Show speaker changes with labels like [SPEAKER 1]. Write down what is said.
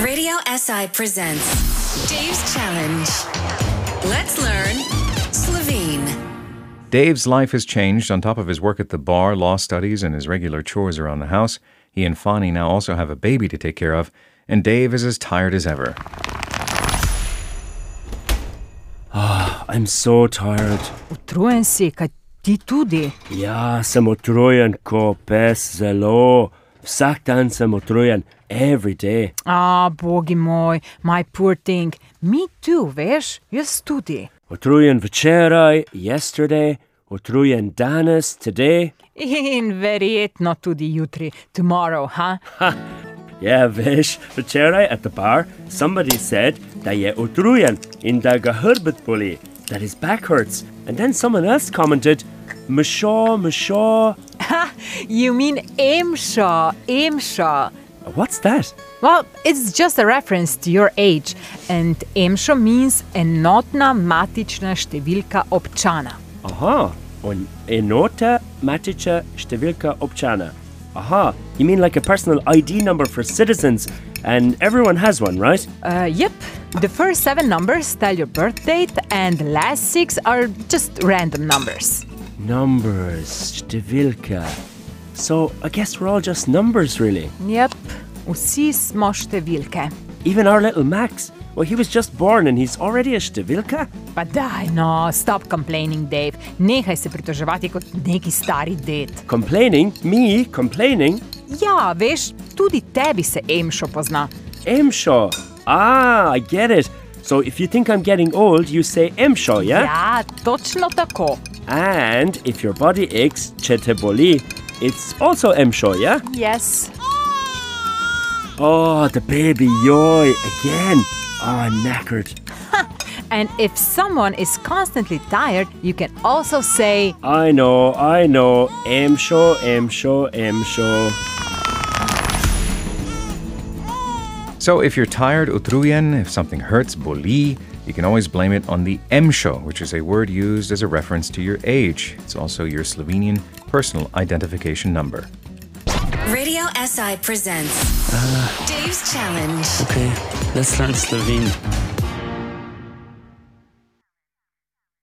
[SPEAKER 1] Radio SI presents Dave's Challenge. Let's learn Slovene.
[SPEAKER 2] Dave's life has changed. On top of his work at the bar, law studies, and his regular chores around the house, he and Fani now also have a baby to take care of, and Dave is as tired as ever.
[SPEAKER 3] I'm so tired.
[SPEAKER 4] Utrujen si, kaj ti tudi.
[SPEAKER 3] Ja, sem utrujen, ko pes zelo. Vsak dan sem utrujen, every day.
[SPEAKER 4] A, bogi moj, my poor thing, mi tu, veš, jaz tudi.
[SPEAKER 3] Utrujen včeraj, yesterday, utrujen danes, today.
[SPEAKER 4] In verjetno tudi jutri, tomorrow, ha?
[SPEAKER 3] Ja, veš, včeraj at the bar, somebody said da je utrujen in da ga hrbet boli, that his back hurts. And then someone else commented, Mishaw, Mishaw.
[SPEAKER 4] You mean emša, emša.
[SPEAKER 3] What's that?
[SPEAKER 4] Well, it's just a reference to your age, and emša means enotna matična številka občana.
[SPEAKER 3] Aha, on enota matica številka občana. Aha, you mean like a personal ID number for citizens, and everyone has one, right?
[SPEAKER 4] Uh, yep, the first seven numbers tell your birth date, and the last six are just random numbers.
[SPEAKER 3] Numbers, številka. So I guess we're all just numbers, really.
[SPEAKER 4] Yep, vsi smo številke.
[SPEAKER 3] Even our little Max. Well, he was just born and he's already a številka?
[SPEAKER 4] Pa daj, no, stop complaining, Dave. Nehaj se pritoževati kot neki stari ded.
[SPEAKER 3] Complaining? Me complaining?
[SPEAKER 4] Ja, veš, tudi tebi se emšo pozna.
[SPEAKER 3] Emshaw. Ah, I get it. So if you think I'm getting old, you say Emshaw, yeah?
[SPEAKER 4] Ja, točno tako.
[SPEAKER 3] And if your body aches, cheteboli, it's also Emshaw, yeah?
[SPEAKER 4] Yes.
[SPEAKER 3] Oh, the baby yoy again. Oh, knackered.
[SPEAKER 4] And if someone is constantly tired, you can also say,
[SPEAKER 3] I know, I know. M show, M show, M show.
[SPEAKER 2] So if you're tired, utruyen, if something hurts, boli, you can always blame it on the emsho, which is a word used as a reference to your age. It's also your Slovenian personal identification number.
[SPEAKER 1] Radio SI presents Dave's Challenge.
[SPEAKER 5] Okay, let's learn Slovene.